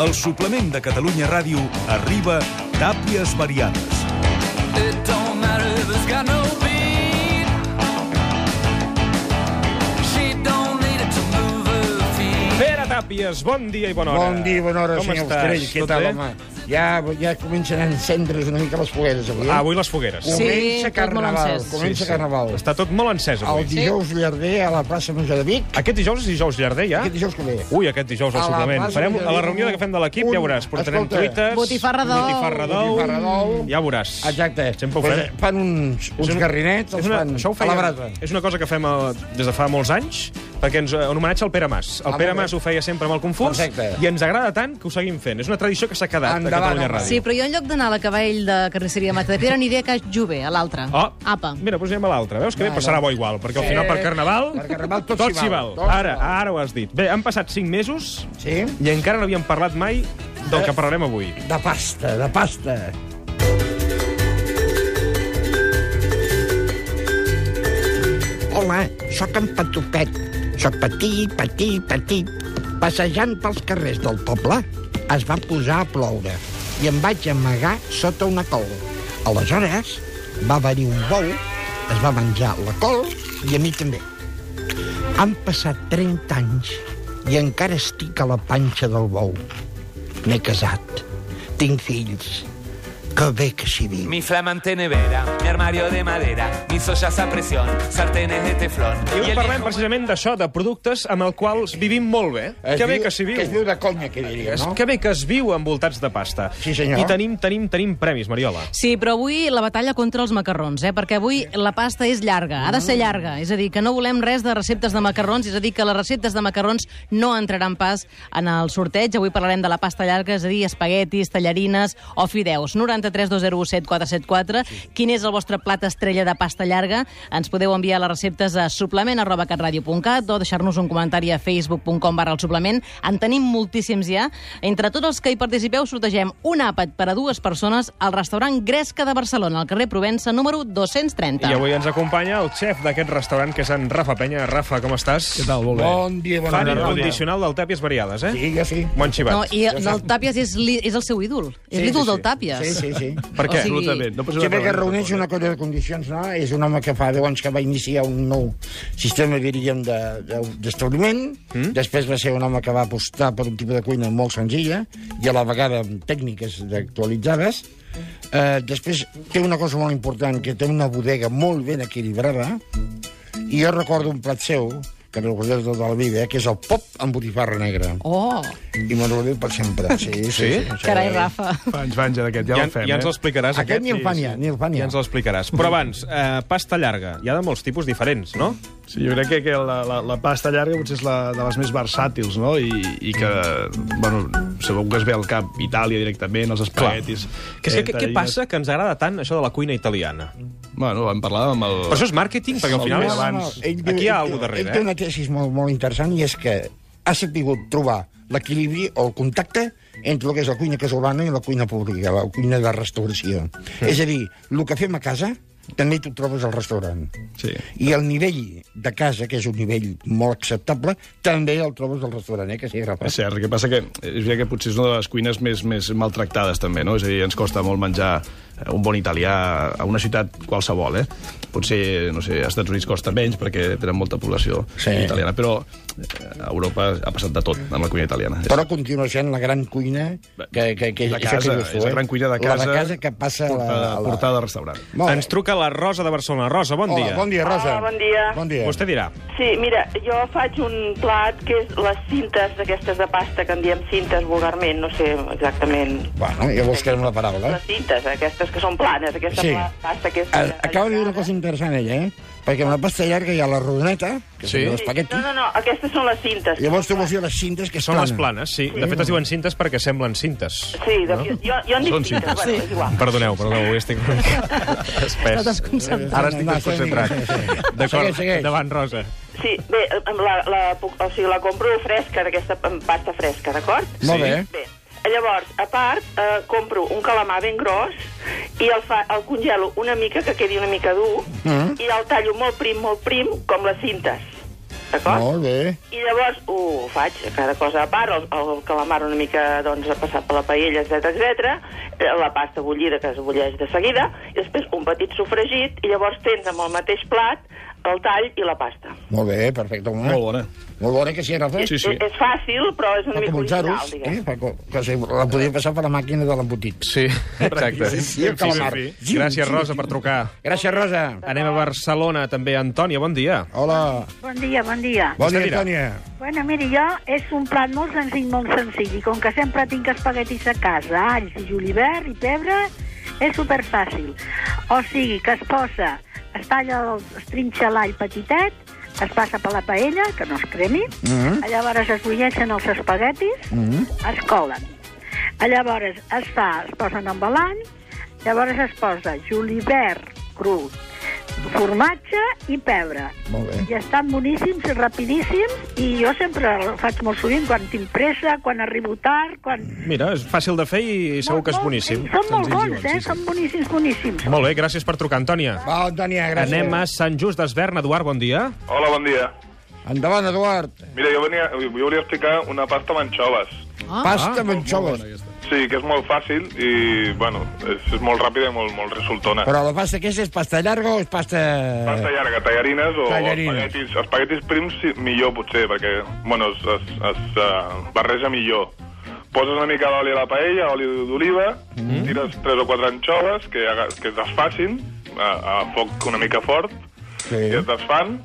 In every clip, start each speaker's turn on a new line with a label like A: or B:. A: El suplement de Catalunya Ràdio arriba Tàpies Variades.
B: It don't matter if it's got no beat. She don't need it to move her feet.
C: Pere Tàpies, bon dia i bona hora.
D: Bon dia, bona hora,
C: Com
D: senyor
C: estàs?
D: Estrell. Què
C: Tot
D: tal,
C: bé?
D: home? Ja, ja comencen a encendre's una mica les fogueres, avui. eh?
C: Ah, avui les fogueres.
E: Sí,
D: Comença
E: tot molt
D: Carnaval,
E: encès.
D: comença Carnaval.
C: Està tot molt encès, avui.
D: El dijous llarder a la plaça Major de Vic,
C: Aquest dijous és dijous llarder, ja?
D: aquest dijous que ve.
C: Ui, aquest dijous
D: A
C: al
D: la
C: suplement.
D: plaça
C: Farem
D: Major
C: a la
D: de
C: reunió que fem de l'equip,
D: un-
C: ja veuràs. Portarem
D: escolta,
C: truites...
E: botifarra d'ou.
C: Botifarra d'ou.
D: Botifarra d'ou.
C: Ja ho veuràs.
D: Exacte.
C: Sempre ho
D: Pues,
C: farem.
D: Fan uns, uns
C: un-
D: garrinets,
C: És
D: els
C: una,
D: fan
C: això ho
D: a
C: feia,
D: la brasa.
C: és una cosa que fem eh, des de fa molts anys, perquè ens, eh, en homenatge al Pere Mas. El
D: Ah,
C: Pere
D: molt bé.
C: Mas ho feia sempre amb el Confús,
D: Perfecte.
C: i ens agrada tant que ho seguim fent. És una tradició que s'ha quedat a
D: Endavant,
C: Catalunya
D: home.
C: Ràdio.
E: Sí, però jo en lloc d'anar a la cavall de carnisseria Mata de Pedra aniré a Caix Jove, a l'altra.
C: Oh,
E: Apa.
C: Mira, doncs anem a l'altre. Veus que bé,
D: Va,
C: però
D: va.
C: serà bo igual, perquè al final per Carnaval...
D: Per Carnaval tot s'hi
C: s'hi
D: val.
C: val.
D: Tot s'hi
C: Ara,
D: val.
C: ara ho has dit. Bé, han passat 5 mesos
D: Sí? Eh.
C: i encara no havíem parlat mai del que parlarem avui.
D: De pasta, de pasta. Hola, sóc en Patupet. Sóc petit, petit, petit. Passejant pels carrers del poble, es va posar a ploure i em vaig amagar sota una col. Aleshores, va venir un bou, es va menjar la col i a mi també. Han passat 30 anys i encara estic a la panxa del bou. M'he casat, tinc fills. Que bé que s'hi viu.
B: Mi flamante nevera, mi armario de madera, mis ollas a presión, sartenes de teflón.
C: I avui
B: el
C: parlem
B: viejo-
C: precisament d'això, de productes amb els quals vivim molt bé.
D: Es
C: que bé
D: diu-
C: que s'hi viu.
D: Que es viu de conya, que diria,
C: És
D: no?
C: Que bé que es viu envoltats de pasta.
D: Sí, senyor.
C: I tenim, tenim, tenim premis, Mariola.
E: Sí, però avui la batalla contra els macarrons, eh? perquè avui la pasta és llarga, ha de ser llarga. És a dir, que no volem res de receptes de macarrons, és a dir, que les receptes de macarrons no entraran pas en el sorteig. Avui parlarem de la pasta llarga, és a dir, espaguetis, tallarines o fideus. 93 207 474. Quin és el vostre plat estrella de pasta llarga? Ens podeu enviar les receptes a suplement arroba catradio.cat o deixar-nos un comentari a facebook.com barra el suplement. En tenim moltíssims ja. Entre tots els que hi participeu sortegem un àpat per a dues persones al restaurant Gresca de Barcelona, al carrer Provença, número 230.
C: I avui ens acompanya el xef d'aquest restaurant, que és en Rafa Penya. Rafa, com estàs? Què tal?
D: Bon dia, bona
C: Fan
D: hora.
C: incondicional del Tàpies Variades, eh?
D: Sí, jo sí.
C: Bon xivat.
E: No, i el Tàpies és, li- és el seu ídol. És
D: Sí, sí,
E: l'ídol
D: sí.
E: del Tàpies.
D: Sí, sí, sí.
C: Per què?
E: O sigui- Absolutament.
C: No
D: Sempre que reuneix una colla de condicions, no? És un home que fa 10 anys que va iniciar un nou sistema, diríem, de- de- d'establiment. Mm? Després va ser un home que va apostar per un tipus de cuina molt senzilla i a la vegada amb tècniques actualitzades. Eh, després té una cosa molt important, que té una bodega molt ben equilibrada i jo recordo un plat seu, que no ho recordo tota la vida, eh, que és el pop amb botifarra negra.
E: Oh,
D: I me'n recordo per sempre. Sí, sí, sí. sí.
E: carai, Rafa.
F: Fa anys, fa anys, d'aquest, ja,
C: Ja,
F: el fem,
C: ja ens
F: eh?
C: l'explicaràs,
D: Aquest ni el fan ja, ni el fan
C: Ja
D: ja.
C: ens l'explicaràs. Però abans, eh, pasta llarga. Hi ha de molts tipus diferents, no?
F: Sí, jo crec que, que la, la, la pasta llarga potser és la, de les més versàtils, no? I, i que, bueno, segur que es ve al cap Itàlia directament, els espaguetis...
C: Que és
F: eh,
C: que, què- què
F: tallines.
C: passa que ens agrada tant això de la cuina italiana?
F: Bueno, vam parlar amb el...
C: Però això és màrqueting, perquè al final...
F: Molt
C: és-
F: bé, abans.
D: Ell
C: Aquí hi ha
D: ell
C: algú
D: té-
C: darrere,
D: Ell té
C: eh?
D: una tesi molt, molt interessant i és que ha sabut trobar l'equilibri o el contacte entre el que és la cuina casolana i la cuina pública, la cuina de restauració. És a dir, el que fem a casa també t'ho trobes al restaurant.
F: Sí.
D: I el nivell de casa, que és un nivell molt acceptable, també el trobes al restaurant, eh? Que sí, Rafa?
F: És cert, el que passa que és veritat que potser és una de les cuines més, més maltractades també, no? És a dir, ens costa molt menjar eh, un bon italià a una ciutat qualsevol, eh? Potser, no sé, als Estats Units costa menys perquè tenen molta població
D: Sí.
F: italiana, però eh, a Europa ha passat de tot amb la cuina italiana.
D: Però continua sent la gran cuina que, que, que
F: de
D: això
F: casa,
D: dius tu,
F: és la
D: eh?
F: gran cuina de casa,
D: La de casa que passa... a
F: portada,
D: la, a la...
F: portada de restaurant.
D: Molt bé.
C: Ens truca la Rosa de Barcelona. Rosa, bon
D: Hola,
C: dia.
D: bon dia, Rosa.
G: Hola, bon dia.
D: Bon dia.
C: Vostè dirà.
G: Sí, mira, jo faig un plat que és les cintes aquestes de pasta, que en diem cintes vulgarment, no sé exactament.
D: Bueno, ja buscarem la paraula.
G: Les cintes, aquestes que són planes, aquesta
D: Sí.
G: pla- pasta que és...
H: Eh,
D: A- Acaba de dir una cosa interessant, ella, eh? Perquè amb la pasta llarga hi ha la rodoneta, que
F: Sí.
D: sí. són
G: Sí.
D: espagueti.
G: No, no, no, aquestes són les cintes.
D: Llavors tu vols dir les cintes que
C: Són
D: plana.
C: les planes, sí. De fet, es diuen cintes perquè semblen cintes.
G: Sí, de... no? jo, jo en dic
F: Són
G: cintes,
F: cintes.
G: bueno, és igual.
C: Perdoneu, perdoneu, avui estic una mica
E: No t'has
C: espès.
E: concentrat.
C: Ara estic
D: No,
C: desconcentrat.
D: segueix, segueix.
C: D'acord,
D: Segueix, segueix.
C: endavant, Rosa.
G: Sí, bé, amb la, la, puc- o sigui, la compro fresca, d'aquesta amb pasta fresca, d'acord?
D: Molt bé.
G: Bé, llavors, a part, eh, compro un calamar ben gros i el, fa, el congelo una mica, que quedi una mica dur, mm. i el tallo molt prim, molt prim, com les cintes. D'acord?
H: Molt bé.
G: I llavors ho faig, cada cosa a part, el, el calamar una mica doncs, passat per la paella, etc etc, la pasta bullida que es bulleix de seguida, i després un petit sofregit, i llavors tens amb el mateix plat el tall i la pasta.
H: Molt bé, perfecte. Home.
F: Molt bona.
H: Molt bona que sí,
D: Tá
H: Rafa.
F: Sí, sí.
G: És, és fàcil, però és una
H: Per
G: mica
H: començar-ho,
G: original,
H: eh?
G: diguem.
H: Per, co- que sí, la podíem passar per la màquina de l'embotit.
F: Sí, exacte.
H: I el calamar.
C: Gràcies, Rosa, per trucar.
H: Gràcies, Rosa.
C: Anem a Barcelona, també. Antònia, bon dia.
H: Hola.
I: Bon dia, bon dia.
H: Bon dia,
C: Mira.
H: Antònia.
I: Bueno, miri, jo és un plat molt senzill, molt senzill, i com que sempre tinc espaguetis a casa, alls i julivert i pebre, és superfàcil. O sigui, que es posa, es talla, el, es trinxa l'all petitet, es passa per la paella, que no es cremi,
H: Mhm.
I: mm -hmm. llavors es bulleixen els espaguetis, mm
J: Mm-hmm.
I: -hmm. es colen. Llavors es fa, es posen amb l'all, llavors es posa julivert cru, formatge i pebre.
H: Molt bé.
I: I estan boníssims, rapidíssims, i jo sempre el faig molt sovint quan tinc pressa, quan arribo tard, quan...
C: Mira, és fàcil de fer i segur que és boníssim.
I: Són molt
C: Senzills i
I: bons, eh?
C: sí, sí.
I: Són boníssims, boníssims.
C: Molt bé, gràcies per trucar, Antònia.
H: Va, Antònia, gràcies.
C: Anem a Sant Just d'Esvern. Eduard, bon dia.
K: Hola, bon dia.
H: Endavant, Eduard.
K: Mira, jo, venia, jo volia explicar una pasta amb anxoves.
E: Ah.
H: Pasta amb anxoves.
K: Sí, que és molt fàcil i, bueno, és, és molt ràpida i molt, molt resultona.
H: Però la pasta aquesta és pasta llarga o és pasta...
K: Pasta llarga, tallarines o
H: Eh, Tallarines.
K: espaguetis. Espaguetis prims sí, millor, potser, perquè, bueno, es, es, es uh, barreja millor. Poses una mica d'oli a la paella, oli d'oliva,
H: Mhm.
K: mm. tires tres o quatre anxoves que, aga- que es desfacin a, a foc una mica fort
H: Sí.
K: i es desfan.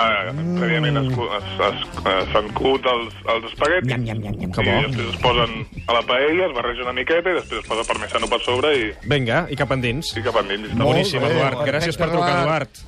K: Ah, prèviament es, cu- es, es, eh, s'han cogut els, els espaguetis
H: Nyam, nyam, nyam, nyam.
K: i després es posen a la paella, es barreja una miqueta i després es posa parmesano per sobre i,
C: Vinga, i cap endins.
K: i cap endins.
C: Està boníssim,
H: bé,
C: Eduard.
H: perfecte,
C: Gràcies per trucar, Eduard.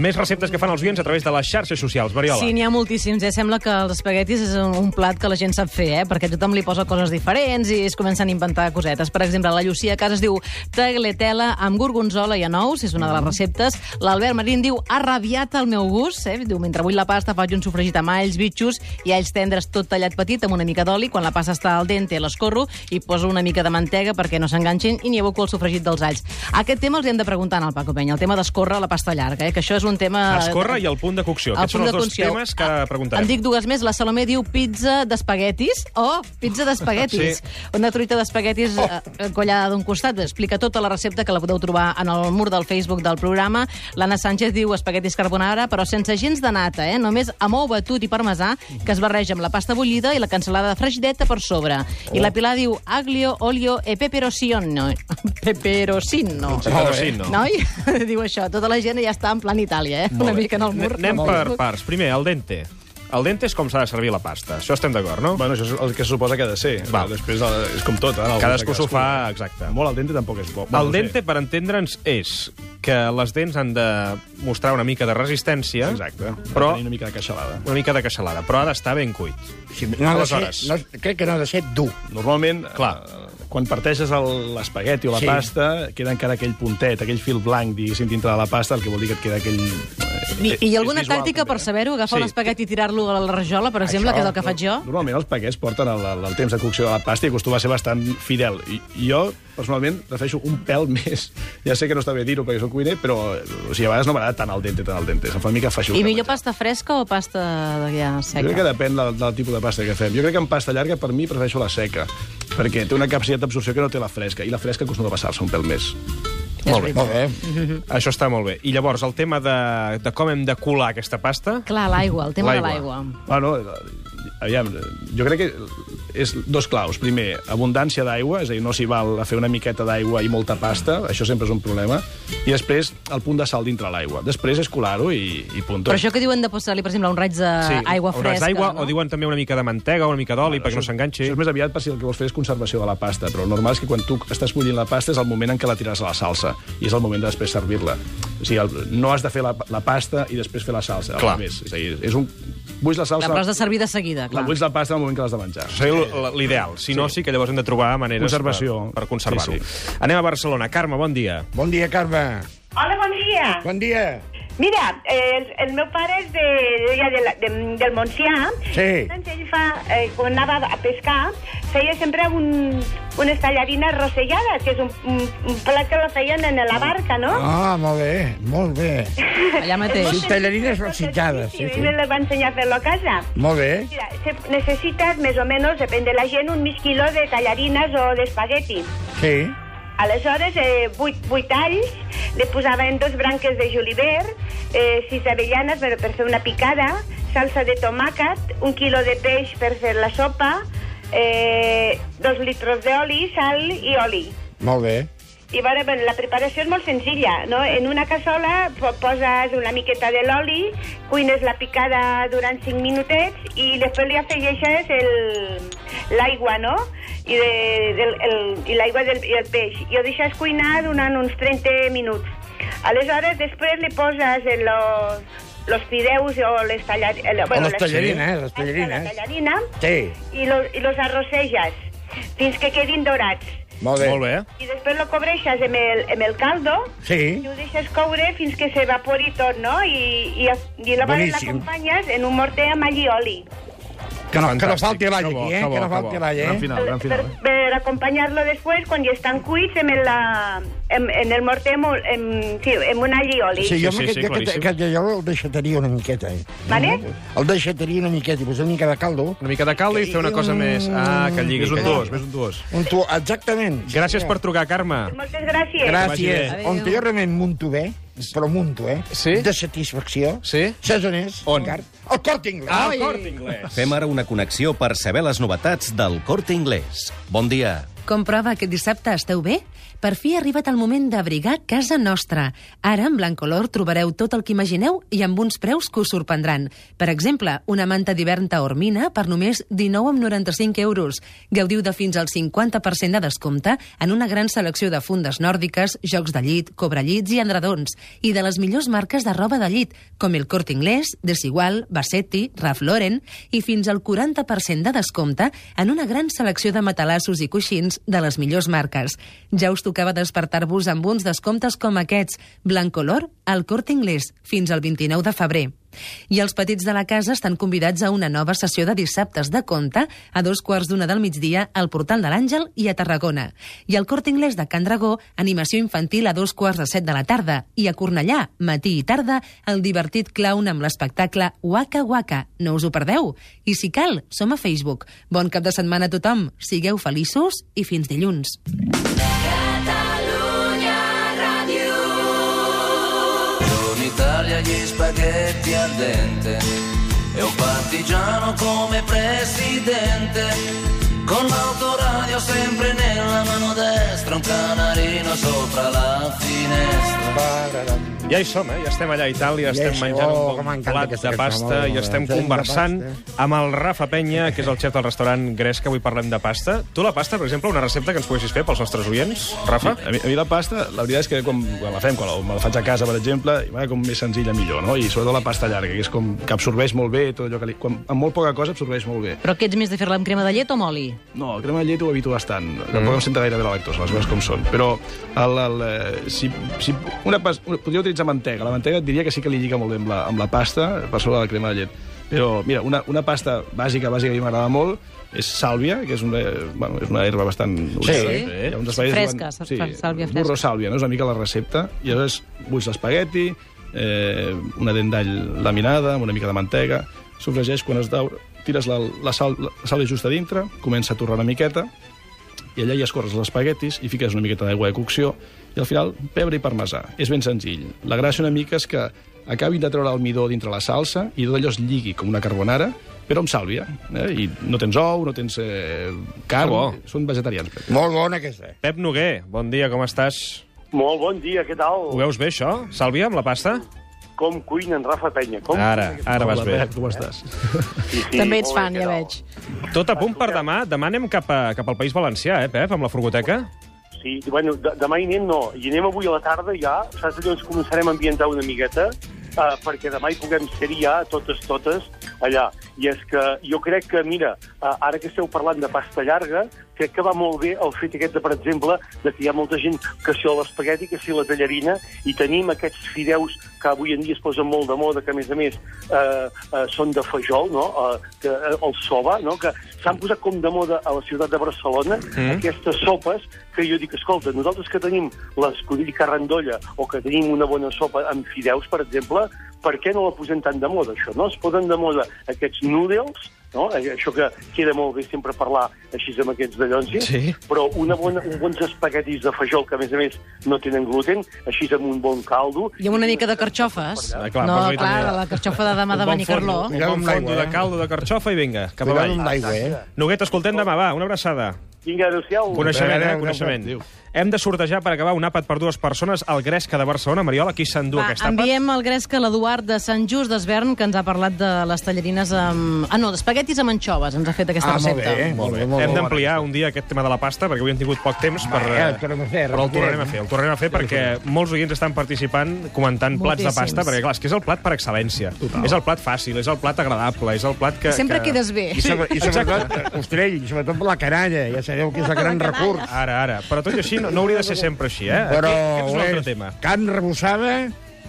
C: Més receptes que fan els oients a través de les xarxes socials. Mariola.
E: Sí, n'hi ha moltíssims. Eh? Sembla que els espaguetis és un un plat que la gent sap fer, eh? perquè tothom li posa coses diferents i es comencen a inventar cosetes. Per exemple, la Llucia a casa es diu tagletela amb gorgonzola i anous, és una de les receptes. L'Albert Marín diu arrabiat al meu gust, eh? diu mentre vull la pasta faig un sofregit amb alls, bitxos i alls tendres tot tallat petit amb una mica d'oli. Quan la pasta està al dente l'escorro i poso una mica de mantega perquè no s'enganxin i n'hi aboco el sofregit dels alls. Aquest tema els hi hem de preguntar al Paco Penya, el tema d'escórrer la pasta llarga, eh? que això és un tema...
C: Escorre i el punt de cocció.
E: eh, El
C: Aquests són
E: punt
C: els
E: de
C: dos
E: cocció.
C: temes que
E: Ah,
C: preguntarem.
E: En dic dues més. La Salomé diu pizza d'espaguetis. Oh, pizza d'espaguetis.
C: Sí.
E: Una truita d'espaguetis oh. collada d'un costat. Explica tota la recepta que la podeu trobar en el mur del Facebook del programa. L'Anna Sánchez diu espaguetis carbonara, però sense gens de nata, eh? només amb ou batut i parmesà, que es barreja amb la pasta bullida i la cansalada de freixideta per sobre. Oh. I la Pilar diu aglio, olio e peperoncino. Peperoncino.
C: Peperoncino.
E: Noi, diu això. Tota la gent ja està en plan Itàlia, eh? Una mica en el mur.
C: Anem
E: del
C: per
E: Facebook.
C: parts. Primer, al dente. Al dente és com s'ha de servir la pasta. Això estem d'acord, no?
F: Bueno, això és el que se suposa que ha de ser.
C: Val.
F: Després eh, és com tot. Eh? en el
C: Cadascú
F: gust
C: s'ho
F: de
C: fa exacte.
F: Molt al dente tampoc és bo. Bueno,
C: Al
F: no sé.
C: dente, per entendre'ns, és que les dents han de mostrar una mica de resistència,
F: Exacte.
C: però
F: Però... Tenir una mica de queixalada.
C: una mica de queixalada, però ha d'estar ben cuit.
H: Sí, no ha de ser,
C: Aleshores.
H: no, crec que no ha de ser dur.
F: Normalment,
C: Clar.
F: eh, quan parteixes el- l'espagueti o la
H: Sí.
F: sí. pasta, queda encara aquell puntet, aquell fil blanc, diguéssim, dintre de la pasta, el que vol dir que et queda aquell... eh,
E: I, I
F: és
E: alguna
F: visual,
E: tàctica
F: també,
E: per
F: eh?
E: saber-ho? Agafar
C: Sí.
E: sí. un espagueti i tirar-lo a la rajola, per exemple, que és el que faig jo?
F: Ah, Normalment els paquets porten el, el, el temps de cocció de la pasta i acostuma a ser bastant fidel. I, i jo, personalment, prefereixo un pèl més. Ja sé que no està bé dir-ho perquè soc cuiner, però o sigui, a vegades no m'agrada tant al dente, tant al dente. Se'm fa una mica feixuc.
E: I millor pasta fresca o pasta de- ja
F: Jo crec que
E: seca?
F: depèn del, del tipus de pasta que fem. Jo crec que en pasta llarga, per mi, prefereixo la seca, perquè té una capacitat d'absorció que no té la fresca, i la fresca acostuma a passar-se un pèl més.
H: Molt bé. Molt bé.
C: Això està molt bé. I llavors, el tema de, de com hem de colar aquesta pasta...
E: Clar, l'aigua, el tema de l'aigua.
F: Bueno, aviam, jo crec que és dos claus. Primer, abundància d'aigua, és a dir, no s'hi val a fer una miqueta d'aigua i molta pasta, això sempre és un problema. I després, el punt de sal dintre l'aigua. Després és colar-ho i, i punt.
E: Però això que diuen de posar-li, per exemple, un raig d'aigua
C: un raig
E: fresca,
C: d'aigua,
E: no?
C: o diuen també una mica de mantega, una mica d'oli, perquè no s'enganxi.
F: Això és més aviat per si el que vols fer és conservació de la pasta, però el normal és que quan tu estàs bullint la pasta és el moment en què la tires a la salsa i és el moment de després servir-la. O sigui, el, no has de fer la, la pasta i després fer la salsa. al
C: Clar.
F: revés. És a dir, és un... Bulls la
E: La
F: salsa...
E: però has de servir de seguida,
F: la
E: clar.
F: bulls la pasta en el moment que l'has de menjar.
C: Seria l- l'ideal. Si no, sí que llavors hem de trobar maneres
F: Conservació.
C: per, per conservar-ho.
F: Sí,
C: sí. Anem a Barcelona. Carme, bon dia.
H: Bon dia, Carme.
L: Hola, bon dia.
H: Bon dia.
L: Mira, el, el meu pare és de, de, de, de, del Montsià.
H: Sí.
L: Doncs ell fa, eh, quan anava a pescar, feia sempre un, unes tallarines rosellades, que és un, un, un plat que la feien en la barca, no?
H: Ah, molt bé, molt bé.
E: Allà mateix.
H: Sí, tallarines rossitjades, sí,
L: Sí, sí.
H: sí.
L: Me les va ensenyar a fer-lo a casa.
H: Molt bé.
L: Mira, se necessites, més o menys, depèn de la gent, un mig quilo de tallarines o d'espagueti.
H: Sí.
L: Aleshores, eh, vuit, vuit alls, li posaven dos branques de julivert, eh, sis avellanes per, per fer una picada, salsa de tomàquet, un quilo de peix per fer la sopa, eh, dos litros d'oli, sal i oli.
H: Molt bé.
L: I veure, bueno, la preparació és molt senzilla, no? En una cassola po- poses una miqueta de l'oli, cuines la picada durant 5 minutets i després li afegeixes el- l'aigua, no? I, de, del, el, i l'aigua del- i el peix. I ho deixes cuinar durant uns 30 minuts. Aleshores, després li poses en los, los fideus o les tallarines...
H: O les
D: eh,
H: tallarines, eh, les
L: La
H: tallarines.
L: tallarina
H: Sí,
L: i, lo, i los arrosseges fins que quedin dorats.
H: molt bé.
C: Molt bé.
L: I després lo cobreixes amb el, amb el caldo i
H: Sí,
L: ho deixes coure fins que s'evapori tot, no? I, i, i la
H: Boníssim.
L: l'acompanyes en un morter amb alli i oli.
H: que no, que no
C: Fantàstic.
H: falti l'all
C: Que bo,
H: aquí, eh?
C: que bo,
H: Que no
C: que
H: falti
C: bo.
H: l'all,
F: Gran
H: eh?
F: final, gran
L: Per,
F: final, eh?
L: per acompanyar-lo després, quan ja estan cuits, en, la, en, en el morter amb, en, sí, amb un alli i oli.
H: Sí, jo,
F: Sí, sí,
H: aquest,
F: sí,
H: jo, aquest,
F: claríssim.
H: aquest, jo el deixataria una miqueta, eh?
L: Vale?
H: El deixataria una miqueta i posar una mica de caldo.
C: Una mica de caldo i fer una cosa més... Ah, que lligui.
F: Més un
C: que
F: dos,
C: lligui.
F: més un dos.
H: Un tu... Exactament.
C: Gràcies per trucar, Carme.
L: Moltes gràcies.
H: Gràcies.
E: bé.
H: On jo realment munto bé, però munto, eh?
C: Sí?
H: De satisfacció.
C: Sí?
H: Saps on és?
C: On?
H: Ricard? Al Cort Inglés.
C: Ah, el Cort Inglés.
M: Fem ara una connexió per saber les novetats del Corte Inglés. Bon dia.
J: Comprova que dissabte esteu bé? Per fi ha arribat el moment d'abrigar casa nostra. Ara, amb Blancolor, trobareu tot el que imagineu i amb uns preus que us sorprendran. Per exemple, una manta d'hivern taormina per només 19,95 euros. Gaudiu de fins al 50% de descompte en una gran selecció de fundes nòrdiques, jocs de llit, cobrellits i andradons, i de les millors marques de roba de llit, com el Corte Inglés, Desigual, Bassetti, Ralph Lauren, i fins al 40% de descompte en una gran selecció de matalassos i coixins de les millors marques. Ja us tocava despertar-vos amb uns descomptes com aquests. Blancolor, al Corte Inglés, fins al 29 de febrer. I els petits de la casa estan convidats a una nova sessió de dissabtes de compte a dos quarts d'una del migdia al Portal de l'Àngel i a Tarragona. I al Corte Inglés de Can Dragó, animació infantil a dos quarts de set de la tarda. I a Cornellà, matí i tarda, el divertit clown amb l'espectacle Waka Waka. No us ho perdeu. I si cal, som a Facebook. Bon cap de setmana a tothom. Sigueu feliços i fins dilluns.
B: Buongiorno Italia, gli spaghetti al dente e un partigiano come presidente. Con l'autoradio sempre nella mano destra, un canarino sopra la finestra.
C: Ja hi som, eh? Ja estem allà a
H: Ja
C: Itàlia, estem
H: hi som.
C: menjant
H: Oh,
C: un
H: com
C: bon
H: m'encanta
C: plat
H: aquesta
C: de
H: cançó, molt
C: pasta
H: bé,
C: i
H: molt bé.
C: estem
H: Fem de
C: conversant
H: pasta.
C: amb el Rafa Penya, que és el xef del restaurant Gresca. Avui parlem de pasta. Tu la pasta, per exemple, una recepta que ens poguessis fer pels nostres oients, Rafa?
F: A mi, a mi la pasta, la veritat és que quan, quan la fem, quan la, me la faig a casa, per exemple, i va com més senzilla millor, no? I sobretot la pasta llarga, que és com que absorbeix molt bé tot allò que li... Quan, amb molt poca cosa absorbeix molt bé.
E: Però què ets més de fer-la amb crema de llet o amb oli?
F: No, el crema de llet ho evito bastant. Mm. Tampoc em senta gaire bé la lactosa, les coses com són. Però el, el, eh, si, si una pas, una, podria utilitzar mantega. La mantega et diria que sí que li lliga molt bé amb la, amb la pasta per sobre de la crema de llet. Però, mira, una, una pasta bàsica, bàsica que m'agrada molt, és sàlvia, que és una, eh, bueno, és una herba bastant...
E: Sí.
F: Hi ha uns espais
E: Fresca,
F: que van-
E: sàlvia fresca.
F: Burro sàlvia, no? És una mica la recepta. I aleshores bulls l'espagueti, eh, una dent d'all laminada, amb una mica de mantega, sofregeix quan es daura, tires la, la, sal, la sàlvia just a dintre, comença a torrar una miqueta, i allà hi escorres els espaguetis i fiques una miqueta d'aigua de cocció i al final pebre i parmesà. És ben senzill. La gràcia una mica és que acabin de treure el midó dintre la salsa i tot allò es lligui com una carbonara, però amb sàlvia. Eh? I no tens ou, no tens eh, carn,
C: bo.
F: són vegetarians.
H: Molt bona aquesta.
C: Pep Noguer, bon dia, com estàs?
K: Molt bon dia, què
C: Ho
K: tal?
C: veus bé, això? Sàlvia, amb la pasta?
K: Com cuina en Rafa Penya? Com
C: Ara, ara vas bé.
F: Com estàs?
K: Sí, sí,
E: També ets
K: molt bé,
E: fan,
K: què
E: ja
K: tal?
E: veig.
C: Tot a punt per demà. Demà anem cap, a, cap al País Valencià, eh, Pep, amb la furgoteca?
K: Sí, i, bueno, de, demà hi anem, no. Hi anem avui a la tarda, ja. Saps allò, ens començarem a ambientar una miqueta, eh, perquè demà hi puguem ser ja, totes, totes, allà.
N: i és que jo crec que, mira, eh, ara que esteu parlant de pasta llarga, crec que va molt bé el fet aquest, de, per exemple, de que hi ha molta gent que si l'espagueti, que si la tallarina, i tenim aquests fideus que avui en dia es posen molt de moda, que a més a més eh, eh, són de fejol, no? Eh, que, eh, el soba, no? que s'han posat com de moda a la ciutat de Barcelona,
O: Mm.
N: mm. aquestes sopes que jo dic, escolta, nosaltres que tenim l'escudill carrandolla o que tenim una bona sopa amb fideus, per exemple, per què no la posem tan de moda, això? No es posen de moda aquests noodles, no? Eh, això que queda molt bé sempre parlar així amb aquests dallonsis,
F: Sí.
N: però una bona, un bons espaguetis de fejol que, a més a més, no tenen gluten, així amb un bon caldo...
E: I amb una mica de carxofes.
C: Ah, clar,
E: no,
C: posa-hi
E: clar,
C: també.
E: la carxofa de demà de Benicarló.
C: Un bon fondo de caldo de carxofa i vinga, cap
H: Cuidado
C: avall.
H: amb l'aigua, eh?
C: Noguet, escoltem demà, va, una abraçada.
N: Vinga, adéu-siau.
C: Coneixement, eh?
H: Adéu,
C: Coneixement.
H: adéu.
C: Hem de sortejar per acabar un àpat per dues persones al Gresca de Barcelona. Mariola, qui s'endú
E: Va,
C: aquest àpat?
E: enviem al Gresca l'Eduard de Sant Just d'Esvern, que ens ha parlat de les tallarines amb... Ah, no, d'espaguetis amb anxoves, ens ha fet aquesta recepta.
C: Ah, molt bé.
H: molt bé, molt
C: Hem d'ampliar un dia aquest tema de la pasta, perquè avui hem tingut poc temps per...
H: Bé, el tornem a fer,
C: però el
H: repetirem,
C: tornarem a fer. El tornarem a fer perquè molts oients estan participant comentant plats de
E: Moltíssims.
C: pasta, perquè clar, és que és el plat per excel·lència. Total. És el plat fàcil, és el plat agradable, és el plat que...
E: Sempre
C: que...
E: quedes bé.
C: I sobre,
H: I sobretot, eh, Ostrell, i sobretot per la canalla, ja sabeu que és el gran recurs.
C: Ara, ara. Però tot i així, no, no hauria de ser sempre així, eh?
H: Però
C: Aquest- aquest és un altre
H: és
C: tema. Ah, eh,
H: carn rebossada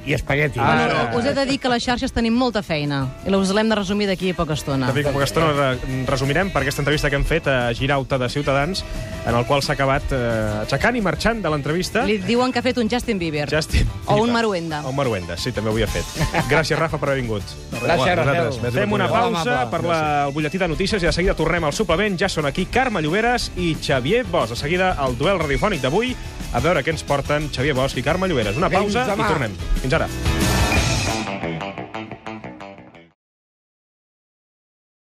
H: i espagueti.
E: Bueno, us he de dir que a les xarxes tenim molta feina i us l'hem de resumir d'aquí a poca estona.
C: També que poca estona re- resumirem per aquesta entrevista que hem fet a Girauta de Ciutadans, en el qual s'ha acabat eh, aixecant i marxant de l'entrevista.
E: Li diuen que ha fet un Justin Bieber.
C: Justin
E: O un Maruenda.
C: El Maruenda, sí, també ho havia fet. Gràcies, Rafa, per haver vingut.
H: Gràcies, Rafael.
C: Fem una
H: Molt
C: pausa
H: amable.
C: per la, el butlletí de notícies i de seguida tornem al suplement. Ja són aquí Carme Lloberes i Xavier Bosch. De seguida, el duel radiofònic d'avui. A veure què ens porten Xavier Bosch i Carme Lloberes. Una
H: Fins
C: pausa
H: demà.
C: i tornem. Fins ara.